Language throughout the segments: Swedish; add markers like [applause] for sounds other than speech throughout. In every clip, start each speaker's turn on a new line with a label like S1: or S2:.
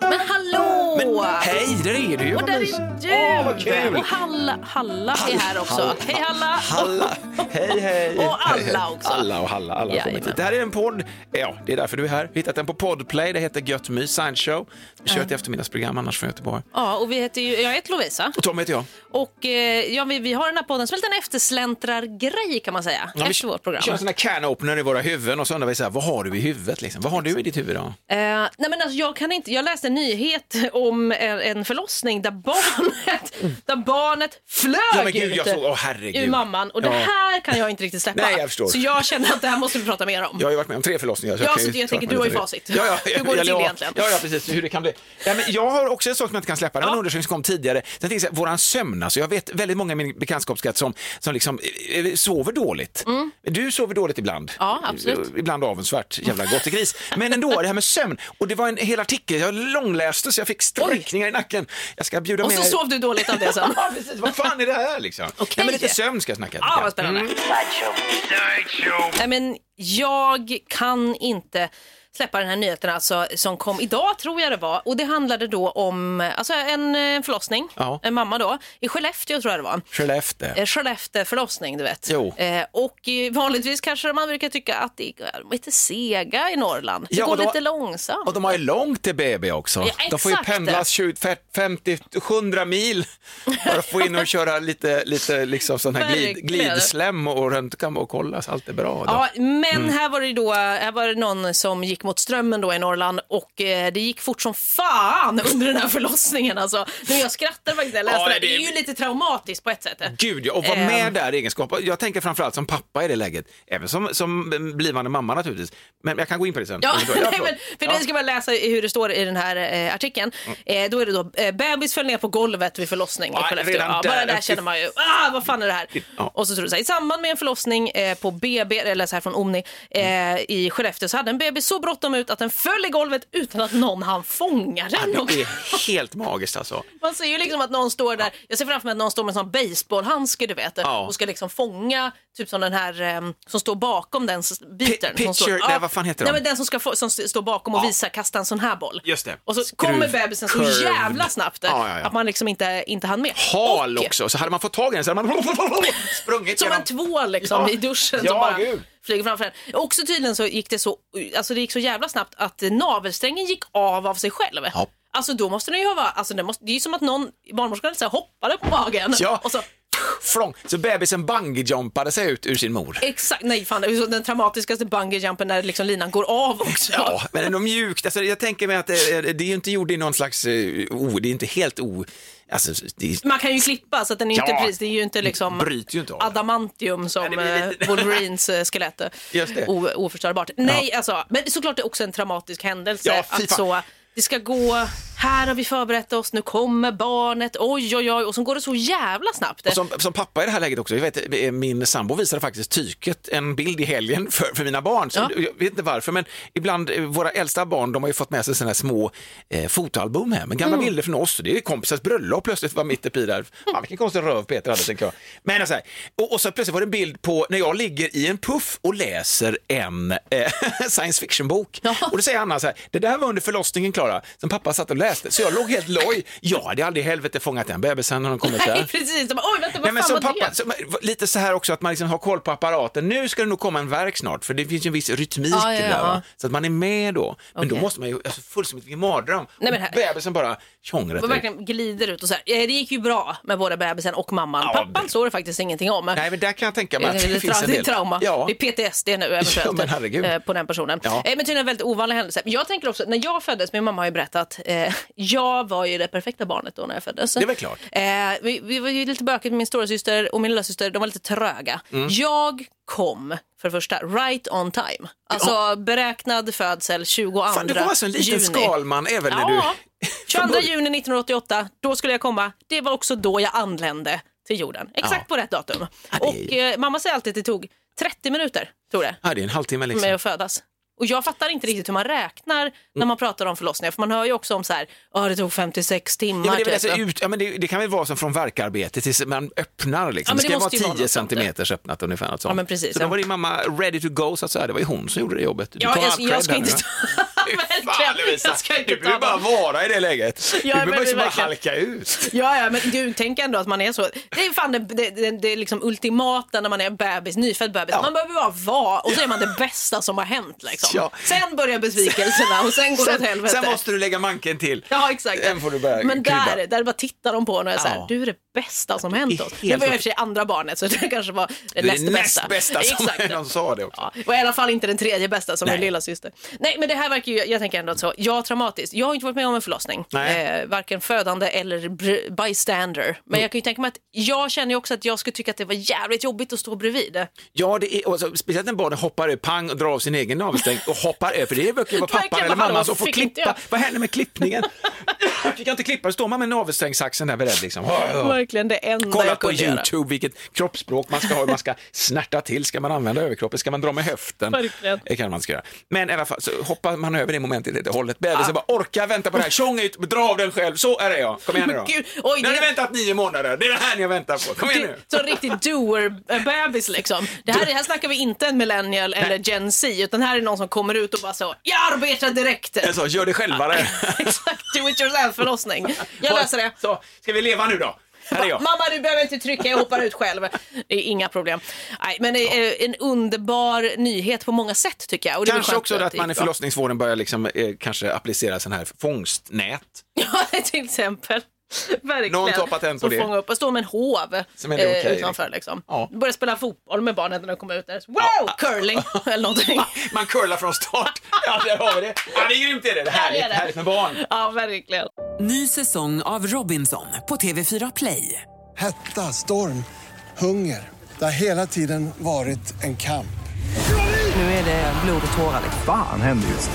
S1: Men hallå!
S2: Hej, där är du ju!
S1: och där är du!
S2: kul!
S1: Och Halla, Halla är här också. Hej Halla!
S2: Halla! Hej, hej!
S1: Och alla
S2: Hej, hej.
S1: också.
S2: Alla och Halla, alla har kommit
S1: Jajamän.
S2: hit. Det här är en podd. Ja, det är därför du är här. Hittat den på Podplay. Det heter Gött Mys Science Show. Vi kör ett eftermiddagsprogram annars från Göteborg.
S1: Ja, och vi heter ju, jag heter Lovisa
S2: Och Tom heter jag.
S1: och eh, ja, vi, vi har den här podden som är en liten eftersläntrargrej kan man säga
S2: Ja, vi
S1: efter vårt program.
S2: kör en sån här can-opener i våra huvuden och så undrar vi så här, vad har du i huvudet liksom? Vad har du i ditt huvud då?
S1: Eh, nej men alltså, jag, kan inte, jag läste en nyhet om en, en förlossning där barnet, där barnet flög
S2: Mm. Ja, men gud,
S1: ut
S2: jag såg- åh, herregud.
S1: ur mamman och det
S2: Ja.
S1: här kan jag inte riktigt släppa.
S2: Nej, jag förstår.
S1: Så jag känner att det här måste vi prata mer om.
S2: Jag har ju varit med om tre förlossningar.
S1: Ja,
S2: kan
S1: så
S2: ju
S1: jag
S2: svara
S1: tänker
S2: på
S1: du har ju
S2: lite.
S1: facit.
S2: Ja, ja,
S1: [laughs] Hur går det
S2: eller
S1: till
S2: ja,
S1: egentligen?
S2: Ja, ja, precis. Hur det kan bli. Ja, men jag har också en sak som jag inte kan släppa. Det var en undersökning som kom tidigare. Den tänkte jag, våran sömn. Alltså, jag vet väldigt många i min bekantskapskrets som, som liksom, eh, eh, sover dåligt. Du sover dåligt ibland.
S1: Mm. Ja, absolut.
S2: Eh, Ibland avundsvärt, jävla gris. Men ändå, det här med sömn. Och det var en hel artikel. Jag långläste så jag fick strykningar i nacken. Jag ska bjuda
S1: och
S2: med
S1: så
S2: er-
S1: sov du dåligt av det
S2: [laughs]
S1: sen.
S2: Ja, precis. Vad fan är det här liksom?
S1: Okej.
S2: Nej, men lite sömn ska jag snacka.
S1: Ja, vad spännande.
S2: Mm.
S1: Nej, men jag kan inte släppa den här nyheten alltså, som kom idag tror jag det var. Och det handlade då om alltså, en, en förlossning,
S2: Ja.
S1: en mamma då, i Skellefteå tror jag det var.
S2: Skellefteå.
S1: Eh, Skellefteå förlossning, du vet.
S2: Jo.
S1: Eh, och eh, vanligtvis kanske man brukar tycka att det är lite sega i Norrland. Det
S2: Ja,
S1: går
S2: och de-
S1: lite långsamt.
S2: Och de har ju långt till BB också.
S1: Ja,
S2: de får ju
S1: exakt.
S2: pendlas 20, 50, 100 mil för att få in och köra lite, lite liksom sån här glid,
S1: Verkligen.
S2: glidsläm och röntga och kolla så allt är bra. Då. Mm.
S1: Ja, men här var det då här var det någon som gick mot strömmen då i Norrland och eh, det gick fort som fan under den här förlossningen. Alltså, nu jag skrattar faktiskt när jag läste
S2: Ja,
S1: det. här.
S2: det-
S1: Det är ju lite traumatiskt på ett sätt.
S2: Gud, ja, och vara
S1: Ehm.
S2: med där i egenskap. Jag tänker framförallt som pappa i det läget, även som, som blivande mamma naturligtvis. Men jag kan gå in på det sen.
S1: Ja,
S2: Om
S1: [laughs]
S2: du-
S1: nej,
S2: förlåt.
S1: men, för
S2: Ja. Mm.
S1: Nu ska jag bara läsa hur det står i den här eh, artikeln. Eh, då är det då, eh, bebis föll ner på golvet vid förlossning i
S2: Ja,
S1: Skellefteå.
S2: redan
S1: Ja, bara
S2: där.
S1: där känner man ju, ah, vad fan är det här?
S2: Ja.
S1: Och så tror du så här, i samband med en förlossning eh, på BB, eller så här från Omni, eh,
S2: Mm.
S1: i Skellefteå så hade en bebis så bråttom ut att den föll i golvet utan att någon hann fånga den.
S2: Ja,
S1: Och-
S2: Det är helt magiskt alltså.
S1: Man ser ju liksom att någon står där, jag ser framför mig att någon står med en sån baseballhandske du vet
S2: Ja.
S1: och ska liksom fånga, typ som den här ehm, som står bakom den s- biten.
S2: Pi-
S1: som står-
S2: picture- nej, vad fan heter
S1: nej,
S2: de?
S1: men Den som, ska få, som s- står bakom och visar kasta en sån här boll.
S2: Just det.
S1: Och så
S2: Skruv,
S1: kommer bebisen så
S2: curved.
S1: jävla snabbt
S2: Ja, ja, ja.
S1: att man liksom inte, inte hann med.
S2: Hal
S1: Och-
S2: också, så hade man fått tag i den så hade man [laughs] sprungit
S1: Som
S2: genom-
S1: en tvål liksom,
S2: Ja.
S1: i duschen
S2: Ja,
S1: som bara
S2: gud.
S1: flyger framför en. Också tydligen så gick det så, alltså det gick så jävla snabbt att eh, navelsträngen gick av av sig själv.
S2: Ja.
S1: Alltså då måste den ju ha varit, alltså det, måste, det är ju som att någon, barnmorskan så här hoppade på magen.
S2: Ja.
S1: Och så,
S2: Flång. Så bebisen bungee-jumpade sig ut ur sin mor.
S1: exakt, nej fan, det är ju så den traumatiskaste bungyjumpen när liksom linan går av också.
S2: Ja, men ändå mjukt. Alltså, jag tänker mig att eh, det är ju inte gjort i någon slags, eh, o, det är inte helt o... Alltså, det är,
S1: Man kan ju klippa så att den är ju
S2: Ja.
S1: inte precis, det är ju inte liksom
S2: Bryter ju inte av det.
S1: adamantium som
S2: det blir lite-
S1: eh, Wolverines eh, skelett.
S2: Just det.
S1: O- oförstörbart. Nej, alltså, men såklart det är också en traumatisk händelse.
S2: Ja, fy
S1: att
S2: fan.
S1: så, det ska gå, här har vi förberett oss, nu kommer barnet, oj oj oj, och så går det så jävla snabbt.
S2: och som, som pappa i det här läget också, jag vet, eh, min sambo visade faktiskt tyket en bild i helgen [laughs] för, för mina barn. Så
S1: Ja.
S2: Jag vet inte varför, men ibland eh, våra äldsta barn de har ju fått med sig sina små eh, fotoalbum hem, med
S1: Mm.
S2: gamla bilder från oss. Det är kompisars bröllop plötsligt var mitt uppe i där. Fan, vilken konstig röv Peter hade, tänker jag. Men så här, och, och så plötsligt var det en bild på när jag ligger i en puff och läser en eh, [laughs] science fiction-bok. Och då säger Anna så här, det där var under förlossningen Klara, som pappa satt och läste, så jag låg helt loj. Jag hade aldrig i helvete fångat den bebisen när de kommit
S1: [laughs]
S2: där.
S1: Nej, precis, de bara, oj vänta, vad
S2: Nej, men
S1: fan
S2: som
S1: var
S2: pappa,
S1: det?
S2: som, lite så här också att man liksom har koll på apparaten. Nu ska det nog komma en verk snart för det finns ju en viss rytmik
S1: Ja,
S2: i
S1: ja,
S2: det där.
S1: ja.
S2: Va? Så att man är med då. Men då
S1: Okej.
S2: måste man ju, alltså fullständigt vilken mardröm.
S1: Nej, men här-
S2: Och Bebisen bara tjongrar
S1: Och
S2: till.
S1: verkligen glider ut och så här. Eh, Det gick ju bra med både bebisen och mamman.
S2: Ja,
S1: Pappan
S2: det-
S1: står det faktiskt ingenting om.
S2: Nej men där kan jag tänka mig
S1: Det,
S2: att
S1: Eh, det, tra-
S2: det finns en
S1: det är
S2: del.
S1: trauma.
S2: Ja.
S1: Det är PTSD nu
S2: Ja,
S1: eventuellt
S2: men herregud.
S1: eh, på den personen.
S2: Ja.
S1: Eh, Men tydligen en väldigt ovanlig händelse. Jag tänker också, när jag föddes, min mamma har ju berättat, eh, jag var ju det perfekta barnet då när jag föddes.
S2: är väl klart.
S1: Eh, vi, vi var ju lite bökigt med min stora syster och min lilla syster, de var lite tröga.
S2: Mm.
S1: Jag kom, för det första, right on time. Alltså beräknad födsel 22
S2: Fan, du var alltså en liten
S1: juni.
S2: [laughs] skalman även när
S1: Ja,
S2: du
S1: 22 juni 1988, då skulle jag komma. Det var också då jag anlände till jorden. Exakt
S2: Ja.
S1: på rätt datum.
S2: Ja, det är-
S1: Och eh, mamma säger alltid att det tog 30 minuter, tror det,
S2: Ja, det är en halvtimme liksom.
S1: med att födas. Och jag fattar inte riktigt hur man räknar
S2: Mm.
S1: när man pratar om förlossningar, för man hör ju också om så här, ja det tog 56 timmar.
S2: Ja, men det, är väl
S1: typ.
S2: alltså ut, ja, men det, det kan väl vara som från verkarbetet tills man öppnar. Liksom.
S1: Ja, men
S2: det
S1: det
S2: ska ju vara
S1: måste ju vara
S2: 10
S1: något sånt där.
S2: centimeters öppnat ungefär. Något sånt.
S1: Ja, men precis,
S2: så då
S1: ja.
S2: var din mamma ready to go, så att säga. det var ju hon som gjorde det jobbet. Du
S1: Ja,
S2: tar
S1: jag-
S2: all
S1: jag
S2: cred
S1: ska
S2: här
S1: inte
S2: nu,
S1: [laughs] ta-
S2: va? [laughs] Fy fan,
S1: Verkligen,
S2: Lovisa,
S1: jag ska inte
S2: Du behöver
S1: ta
S2: bara
S1: dem.
S2: vara i det läget.
S1: Ja,
S2: du
S1: men
S2: behöver liksom bara
S1: verkligen.
S2: halka ut.
S1: Ja, ja, men du, tänk ändå att man är så. Det är fan det, det, det, det är liksom ultimata när man är bebis, nyfödd bebis. Man behöver bara vara och så är man det bästa som har hänt. Liksom.
S2: Ja.
S1: Sen börjar besvikelserna och sen går det åt
S2: Sen,
S1: helvete.
S2: sen måste du lägga manken till.
S1: Ja, exakt.
S2: Sen får du börja
S1: men
S2: krydda.
S1: där, där bara tittar de på en och är så här,
S2: Ja.
S1: du är det bästa som
S2: Det
S1: hänt
S2: är
S1: oss.
S2: helt
S1: Det var ju i och för sig andra barnet så [laughs] det kanske var det
S2: Du är
S1: näst
S2: det näst
S1: bästa.
S2: bästa som [laughs] någon sa det också.
S1: Ja, det var i alla fall inte den tredje bästa som
S2: Nej.
S1: min lilla syster. Nej, men det här verkar ju, jag tänker ändå att så, ja traumatiskt. Jag har inte varit med om en förlossning,
S2: Nej.
S1: eh, varken födande eller br- bystander. Men jag kan ju tänka mig att jag känner ju också att jag skulle tycka att det var jävligt jobbigt att stå bredvid.
S2: Ja, det är, alltså, speciellt när barnen hoppar över, pang, och drar av sin egen navelsträng och hoppar över, för det verkar ju vara
S1: Verkligen,
S2: pappan eller
S1: hallå,
S2: mamman som får
S1: fick inte
S2: klippa.
S1: jag.
S2: Vad händer med klippningen? [laughs] fick jag inte klippa, då står man med navelsträngssaxen där beredd liksom.
S1: Verkligen det enda
S2: Kolla
S1: jag
S2: på
S1: kunde göra.
S2: YouTube vilket kroppsspråk man ska ha, hur man ska snärta till, ska man använda överkroppen, ska man dra med höften?
S1: Verkligen.
S2: Det kan man ska göra. Men i alla fall så hoppar man över det momentet lite hållet.
S1: Ah.
S2: Bebisen bara orka vänta på det här, tjong ut, dra av den själv, så är det jag. Kom igen nu då.
S1: Men [laughs] gud, oj,
S2: nu har ni
S1: det-
S2: väntat nio månader, det är det här ni har väntat på. Kom igen nu.
S1: Så en riktig doer-bebis liksom. Det här, här snackar vi inte en millennial eller Gen Z, utan här är någon som kommer ut och bara så, jag arbetar direkt.
S2: Jag sa, gör det själva. det.
S1: [laughs] Exakt, do it yourself förlossning. Jag löser det.
S2: Så, ska vi leva nu då? Här är jag.
S1: Mamma, du behöver inte trycka, jag hoppar ut själv. Det är inga problem. Nej, men det är en underbar nyhet på många sätt tycker jag. Och det är väl
S2: Kanske
S1: skönt
S2: också att
S1: det typ.
S2: man i
S1: gick bra.
S2: förlossningsvården börjar liksom, eh, kanske applicera sån här fångstnät.
S1: [laughs] Ja, till exempel. Verkligen.
S2: Någon tar patent på
S1: Som
S2: det.
S1: fångar upp och står med en hov
S2: Som är det okej,
S1: eh, utanför. Liksom.
S2: Ja.
S1: Börjar spela fotboll med barnen när de kommer ut där. Wow,
S2: [laughs]
S1: curling eller någonting.
S2: Man curlar från start. [laughs] Ja, där har vi det. Ja, det är grymt det är det. det. är Härligt,
S1: det.
S2: härligt med barn.
S1: Ja, verkligen.
S3: Ny säsong av Robinson på TV4 Play.
S4: Hetta, storm, hunger. Det har hela tiden varit en kamp.
S3: Nu är det blod och tårar.
S5: Fan händer just nu.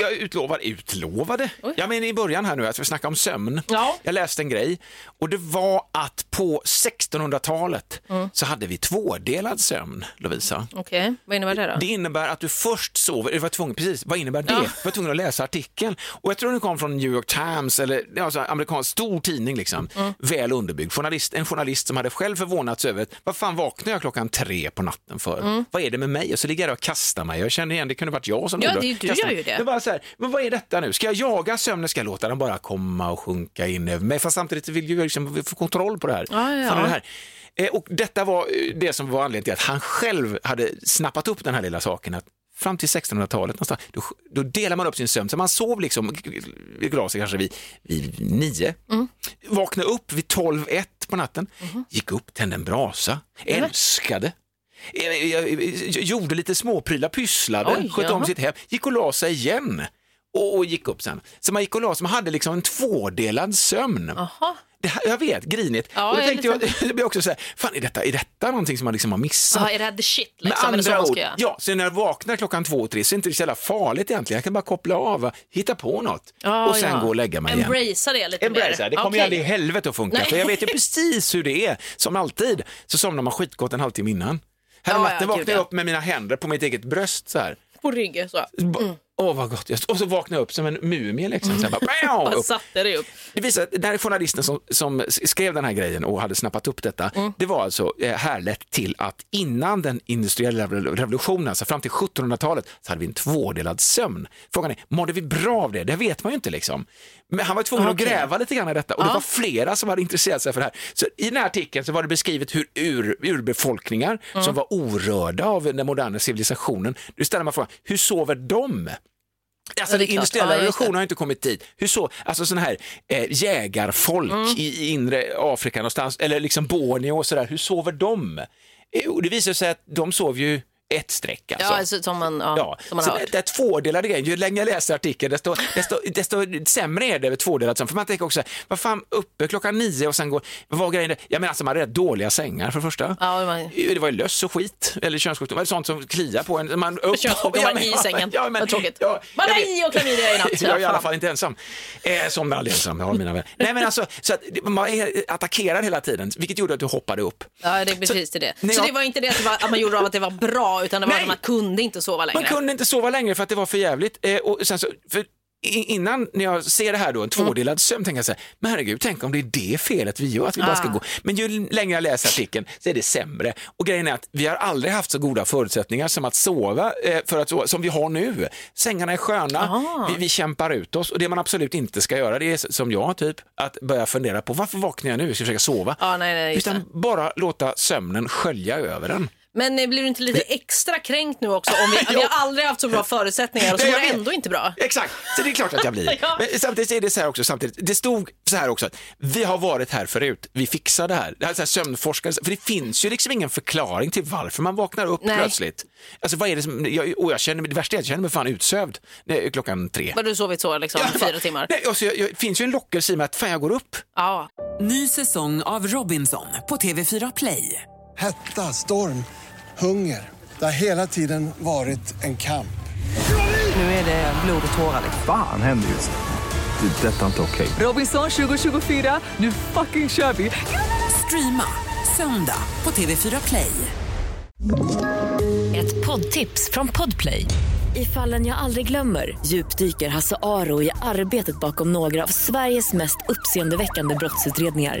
S2: Jag utlovar utlovade. Ja, men I början här nu, att vi snackar om sömn.
S1: Ja.
S2: Jag läste en grej och det var att på 1600-talet
S1: Mm.
S2: så hade vi tvådelad sömn, Lovisa.
S1: Okej, vad innebär det då?
S2: Det innebär att du först sover, du var tvungen, precis, vad innebär det?
S1: Ja.
S2: Du var tvungen att läsa artikeln. Och jag tror den kom från New York Times eller ja, alltså, amerikansk stor tidning liksom.
S1: Mm.
S2: Väl underbyggd. Journalist, en journalist som hade själv förvånats över, vad fan vaknar jag klockan tre på natten för?
S1: Mm.
S2: Vad är det med mig? Och så ligger jag och kastar mig. Jag känner igen, det kunde varit jag som
S1: Ja,
S2: gjorde
S1: det är- du
S2: Kastar
S1: gör
S2: mig.
S1: ju det.
S2: Men bara så här, men vad är detta nu? Ska jag jaga sömnen? Ska jag låta den bara komma och sjunka in över mig? Fast samtidigt vill ju jag liksom få kontroll på det här.
S1: Ja, ja.
S2: Fan, det här. Eh, Och detta var eh, det som var anledningen till att han själv hade snappat upp den här lilla saken. Att fram till 1600-talet någonstans, då, sk- då delade man upp sin sömn. Så man sov liksom, vi la sig kanske vid, vid nio, vaknade upp vid tolv, ett på natten,
S1: Mhm.
S2: gick upp, tände en brasa, älskade. Jag, jag, jag gjorde lite småprylar, pysslade,
S1: Oj,
S2: sköt om
S1: jaha.
S2: sitt hem, gick och la sig igen och, och gick upp sen. Så man gick och la sig, man hade liksom en tvådelad sömn.
S1: Jaha.
S2: Det här, jag vet, grinigt.
S1: Ja,
S2: och då
S1: jag är
S2: tänkte jag, [laughs] det blir också så här, fan är detta, är detta någonting som man liksom har missat?
S1: Ja, är det här the shit liksom? Med
S2: Med
S1: eller så
S2: andra
S1: man
S2: ord,
S1: ska göra?
S2: ja, så när jag vaknar klockan två och tre så är det inte så jävla farligt egentligen. Jag kan bara koppla av, hitta på något
S1: Ja,
S2: och sen
S1: ja.
S2: gå och lägga mig igen.
S1: Embracea det lite
S2: Embrace,
S1: mer.
S2: det kommer
S1: Okej.
S2: ju aldrig i helvete att funka.
S1: Nej.
S2: För jag vet ju precis hur det är. Som alltid så somnar man skitgott en halvtimme innan. Häromnatten
S1: Ja, ja,
S2: vaknade
S1: gud,
S2: jag
S1: ja.
S2: upp med mina händer på mitt eget bröst så här.
S1: På ryggen så.
S2: B- åh vad gott just. Och så vaknade jag upp som en mumie
S1: [laughs]
S2: liksom. Sen bara, bam,
S1: Bara
S2: upp.
S1: satte det upp.
S2: Det visar att den här journalisten som, som skrev den här grejen och hade snappat upp detta,
S1: Mm.
S2: det var alltså eh, härlett till att innan den industriella rev- revolutionen, alltså fram till 1700-talet, så hade vi en tvådelad sömn. Frågan är, mådde vi bra av det? Det vet man ju inte liksom. Men han var tvungen att gräva lite grann i detta och det var flera som hade intresserat sig för det här. Så i den här artikeln så var det beskrivet hur ur, urbefolkningar
S1: Mm.
S2: som var orörda av den moderna civilisationen, nu ställer man frågan, hur sover de? Alltså
S1: Ja, det är
S2: den
S1: klart.
S2: industriella
S1: Ja, just det.
S2: revolutionen har ju inte kommit dit. Hur så? Alltså sådana här eh, jägarfolk i, i inre Afrika någonstans, eller liksom Borneo och sådär, hur sover de? Eh, Och det visar sig att de sov ju ett streck alltså.
S1: Ja, alltså, som man, ja,
S2: Ja,
S1: Som man
S2: så
S1: har
S2: det,
S1: hört.
S2: det är tvådelade grejer. Ju längre jag läser artikeln, desto, desto, desto sämre är det med tvådelat sömn. För man tänker också, vad fan, uppe klockan nio och sen går, vad var grejen? där? Ja, men alltså man hade rätt dåliga sängar för det första.
S1: Ja, man-
S2: Det var ju löss och skit, eller könssjukdom, eller sånt som kliar på en. Man, upp,
S1: Könssjukdomar
S2: [laughs]
S1: i sängen. Vad tråkigt. Man har
S2: jag vet.
S1: i och klamydia i natt.
S2: [laughs] Jag är i alla fall inte ensam. Eh, som aldrig ensam, jag har mina vänner. Nej men alltså, så att man är attackerad hela tiden, vilket gjorde att du hoppade upp.
S1: Ja, det är precis det. det. Så
S2: när jag-
S1: det var inte det att, det var, att man gjorde av att det var bra, utan det var
S2: Nej.
S1: att man kunde inte sova längre.
S2: Man kunde inte sova längre för att det var för jävligt. Eh, och sen så, för i- innan när jag ser det här då, en
S1: Mm.
S2: tvådelad sömn, tänker jag så här, men herregud, tänk om det är det felet vi gör, att vi bara ska
S1: Ah.
S2: gå. Men ju längre jag läser artikeln så är det sämre. Och grejen är att vi har aldrig haft så goda förutsättningar som att sova, eh, för att sova som vi har nu. Sängarna är sköna,
S1: Ah.
S2: vi, vi kämpar ut oss och det man absolut inte ska göra, det är s- som jag typ, att börja fundera på varför vaknar jag nu, jag ska försöka sova.
S1: Ja, Ah, nej, nej, just
S2: Utan bara låta sömnen skölja över en.
S1: Men eh, blir du inte lite extra kränkt nu också?
S2: [laughs]
S1: Om vi, vi har aldrig haft så bra förutsättningar och så
S2: Ja,
S1: går
S2: jag
S1: det
S2: vet.
S1: ändå inte bra.
S2: Exakt, så det är klart att jag blir.
S1: [laughs] Ja.
S2: Men samtidigt är det så här också, samtidigt, det stod så här också, att vi har varit här förut, vi fixar det här. Det här, är så här sömnforskare, för det finns ju liksom ingen förklaring till varför man vaknar upp
S1: Nej.
S2: plötsligt. Alltså vad är det som, jag, och jag känner, mig- det värsta är att jag känner mig fan utsövd när, klockan tre.
S1: Har du sovit så liksom
S2: Ja, fan.
S1: fyra timmar?
S2: Nej, alltså, jag, jag, finns ju en lockelse i mig att fan jag går upp.
S1: Ja.
S3: Ny säsong av Robinson på TV4 Play.
S4: Hetta, storm, hunger. Det har hela tiden varit en kamp.
S3: Nu är det blod och tårar.
S5: Fan händer just det. Det är detta inte okej.
S3: Robinson 2024, nu fucking kör vi! Streama söndag på TV4 Play.
S6: Ett poddtips från Podplay. I fallen jag aldrig glömmer djupdyker Hasse Aro i arbetet bakom några av Sveriges mest uppseendeväckande brottsutredningar.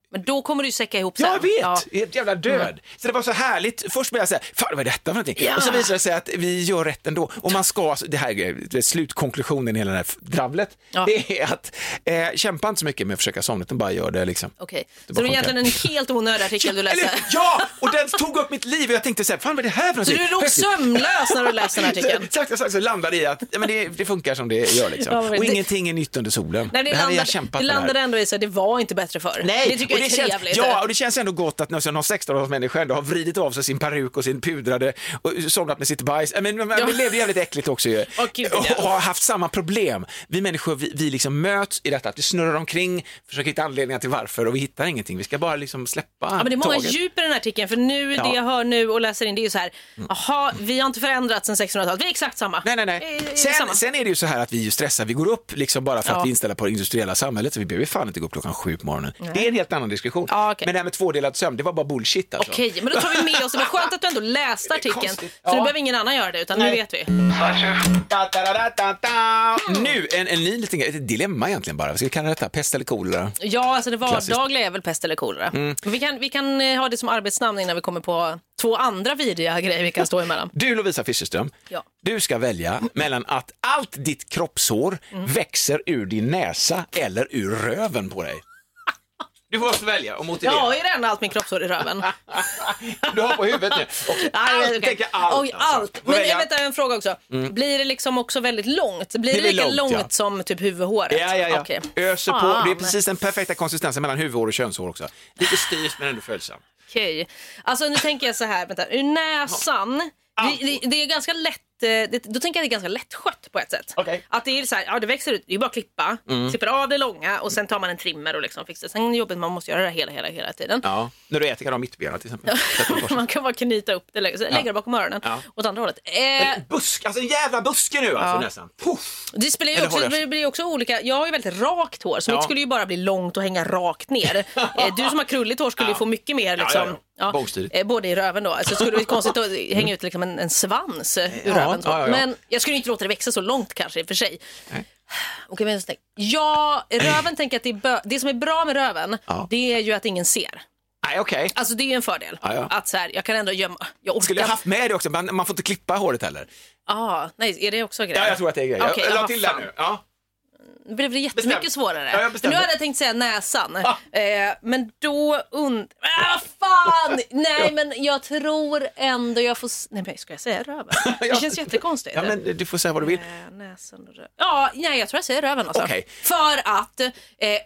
S1: Men då kommer du ju säcka ihop sen.
S2: Jag vet,
S1: Ja. Mm.
S2: helt jävla död. Så det var så härligt. Först började jag säga, fan vad är detta för någonting? Och så visade det sig att vi gör rätt ändå. Och man ska, alltså, det här är det är slutkonklusionen i hela det här dravlet,
S1: Ja.
S2: det är att eh, kämpa inte så mycket med att försöka somna, utan bara gör det liksom.
S1: Okej,
S2: Det
S1: så det
S2: bara
S1: är egentligen en helt onödig artikel du läste.
S2: Eller, ja, och den tog upp mitt liv och jag tänkte så här, fan vad är det här
S1: [laughs]
S2: för
S1: Så
S2: någonting?
S1: du låg
S2: Häftigt.
S1: sömnlös när du läste den här
S2: [laughs]
S1: artikeln?
S2: Så- Sakta, sakta så landade det i att ja, men det, det funkar som det gör liksom.
S1: Ja, men
S2: och
S1: det-
S2: ingenting är nytt under solen.
S1: Nej, det,
S2: det här har jag
S1: landade,
S2: kämpat
S1: det
S2: med det här.
S1: landade ändå i så här, det var inte bättre förr.
S2: Nej,
S1: det tycker jag är
S2: och det
S1: trevligt.
S2: Känns, ja, och det känns ändå gott att någon som någon 16-årig människa ändå har vridit av sig sin peruk och sin pudrade och somnat med sitt bajs. Men, men,
S1: Ja.
S2: men levde jävligt äckligt också ju.
S1: Åh, gud, ja.
S2: och, och har haft samma problem. Vi människor, vi, vi liksom möts i detta att vi snurrar omkring, försöker hitta anledningar till varför och vi hittar ingenting. Vi ska bara liksom släppa
S1: Ja, men det är många
S2: taget.
S1: djup i den här artikeln, för nu,
S2: Ja.
S1: det jag hör nu och läser in det är ju så här, jaha, vi har inte förändrats sedan 1600-talet, vi är exakt samma.
S2: Nej, nej,
S1: Eh,
S2: nej.
S1: eh, samma.
S2: Sen, sen är det ju så här att vi är ju stressar, vi går upp liksom bara för att
S1: Ja.
S2: vi är inställda på det industriella samhället, så vi behöver fan inte gå upp klockan sju på morgonen. Det är en helt annan diskussion.
S1: Ja, okej.
S2: Men det här med tvådelad sömn, det var bara bullshit alltså.
S1: Okej, men då tar vi med oss det. Men skönt att du ändå läste
S2: Det är
S1: artikeln.
S2: konstigt.
S1: Så
S2: Ja.
S1: nu behöver ingen annan göra det, utan nu vet vi. Mm.
S2: Nu en, en ny liten grej, ett dilemma egentligen bara. Vad Ska vi kalla detta? Pest eller kolera?
S1: Ja, alltså det
S2: Klassiskt. Mm.
S1: vardagliga är väl pest eller kolera. Men Vi, kan, vi kan eh, ha det som arbetsnamn innan vi kommer på två andra vidriga [laughs] grejer vi kan stå emellan.
S2: Du Lovisa Fischerström,
S1: Ja.
S2: du ska välja mellan att allt ditt kroppshår
S1: Mm.
S2: växer ur din näsa eller ur röven på dig. Du måste välja och
S1: Jag
S2: motivera.
S1: har ju redan allt min kroppshår i
S2: [laughs]
S1: röven.
S2: Du har på huvudet
S1: [laughs]
S2: nu. Okej,
S1: Nej,
S2: allt,
S1: okej.
S2: tänker allt.
S1: Oj,
S2: alltså.
S1: allt.
S2: Får
S1: Men
S2: välja.
S1: jag vet en fråga också. Blir det liksom också väldigt långt? Blir det,
S2: blir
S1: lika långt,
S2: långt, ja.
S1: som typ huvudhåret?
S2: Ja, ja, ja.
S1: Okej.
S2: Öser på.
S1: Fan.
S2: Det är precis den perfekta konsistensen mellan huvudhår och könshår också. Lite styvt men ändå följsamt. Ah.
S1: Okej. Alltså nu tänker jag så här, vänta. Ur näsan. Det, det, det är ganska lätt eh, det, då tänker jag att det är ganska lättskött på ett sätt.
S2: Okej. Mm.
S1: Att det är så här, ja det växer ut, det är bara att klippa, klipper av det långa och sen tar man en trimmer och liksom fixar. Sen är det jobbigt, man måste göra det hela, hela, hela tiden.
S2: Ja, när du äter kan du ha mittbena till exempel.
S1: [laughs]
S2: Sätt det på
S1: man kan bara knyta upp det, lägga, lägga det bakom öronen
S2: Ja.
S1: åt andra hållet. Eh,
S2: En busk, alltså en jävla buske nu alltså
S1: Ja.
S2: nästan. Puff.
S1: Det spelar ju
S2: Eller
S1: också,
S2: har det?
S1: det blir också olika. Jag har ju väldigt rakt hår, så
S2: Ja.
S1: mitt skulle ju bara bli långt och hänga rakt
S2: [laughs]
S1: ner. Eh, du som har krulligt hår skulle ju
S2: Ja.
S1: få mycket mer
S2: Ja,
S1: liksom,
S2: ja, ja. Bångstyrigt.
S1: eh, både i röven då. Alltså, skulle det bli konstigt att hänga ut liksom en, en svans eh, ur
S2: Ja,
S1: röven. Så.
S2: ja, ja, ja.
S1: Men jag skulle ju inte låta det växa så långt kanske i och för sig. [sighs] Okej, men jag tänker- ja, röven tänker jag att det, är bö- det som är bra med röven,
S2: Ja.
S1: det är ju att ingen ser.
S2: Nej okej.
S1: Alltså det är ju en fördel.
S2: Ja, ja.
S1: Att så här, jag kan ändå gömma, jag orkar.
S2: Skulle jag haft med det också, men man får inte klippa håret heller.
S1: ah, nej, är det också en grej?
S2: Ja, jag tror att det är grejen.
S1: Okej,
S2: jag
S1: ja,
S2: la
S1: vad
S2: till det
S1: fan.
S2: nu. Ja.
S1: Nu blev det jättemycket
S2: Bestämt.
S1: svårare.
S2: Ja, jag
S1: För
S2: bestämde. Ah.
S1: nu hade jag tänkt säga näsan. Eh, men då und... Ah,
S2: [laughs]
S1: fan! Nej, men jag tror ändå jag får... s- Nej, men ska jag säga
S2: [laughs]
S1: röven? Det känns jättekonstigt.
S2: Ja, men du får säga vad du vill.
S1: Eh, Näsan och röven. Ja, nej, jag tror jag säger röven alltså.
S2: Okej.
S1: För att, eh,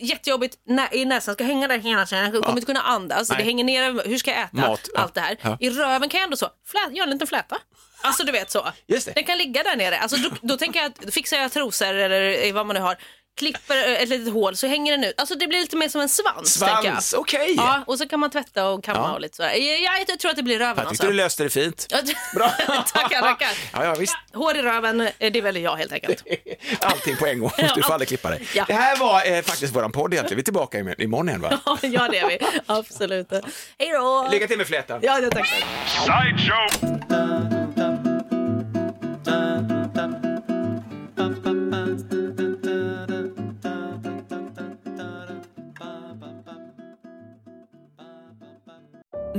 S1: jättejobbigt, nä- i näsan ska hänga där hela tiden, jag kommer inte kunna andas,
S2: Nej.
S1: det hänger ner, över- hur ska jag äta?
S2: Mat, ja.
S1: Allt det här.
S2: Ja.
S1: I röven kan jag ändå så, flä- göra en liten fläta. Alltså du vet så.
S2: Just det.
S1: Den kan ligga där nere. Alltså, då, då tänker jag, att- då fixar jag trosor eller eh, vad man nu har, klipper eh, ett litet hål så hänger den ut. Alltså det blir lite mer som en svans. tänker jag.
S2: Svans, okej.
S1: Ja, och så kan man tvätta och kamma
S2: Ja.
S1: och lite sådär. Jag, jag, jag tror att det blir röven
S2: Jag
S1: alltså.
S2: tyckte du löste det fint.
S1: Bra. [laughs] tackar, tackar.
S2: [laughs] Ja, ja, visst.
S1: Hår i röven, eh, det väljer jag helt
S2: [laughs]
S1: enkelt.
S2: Allting på
S1: [laughs]
S2: en gång, du får aldrig klippa dig.
S1: Ja.
S2: Det här var eh, faktiskt våran podd egentligen. Vi är tillbaka im- imorgon igen va?
S1: ja, det är vi. Absolut. Hej då!
S2: Lycka till med flätan.
S1: Ja, ja, tack.
S7: Sideshow!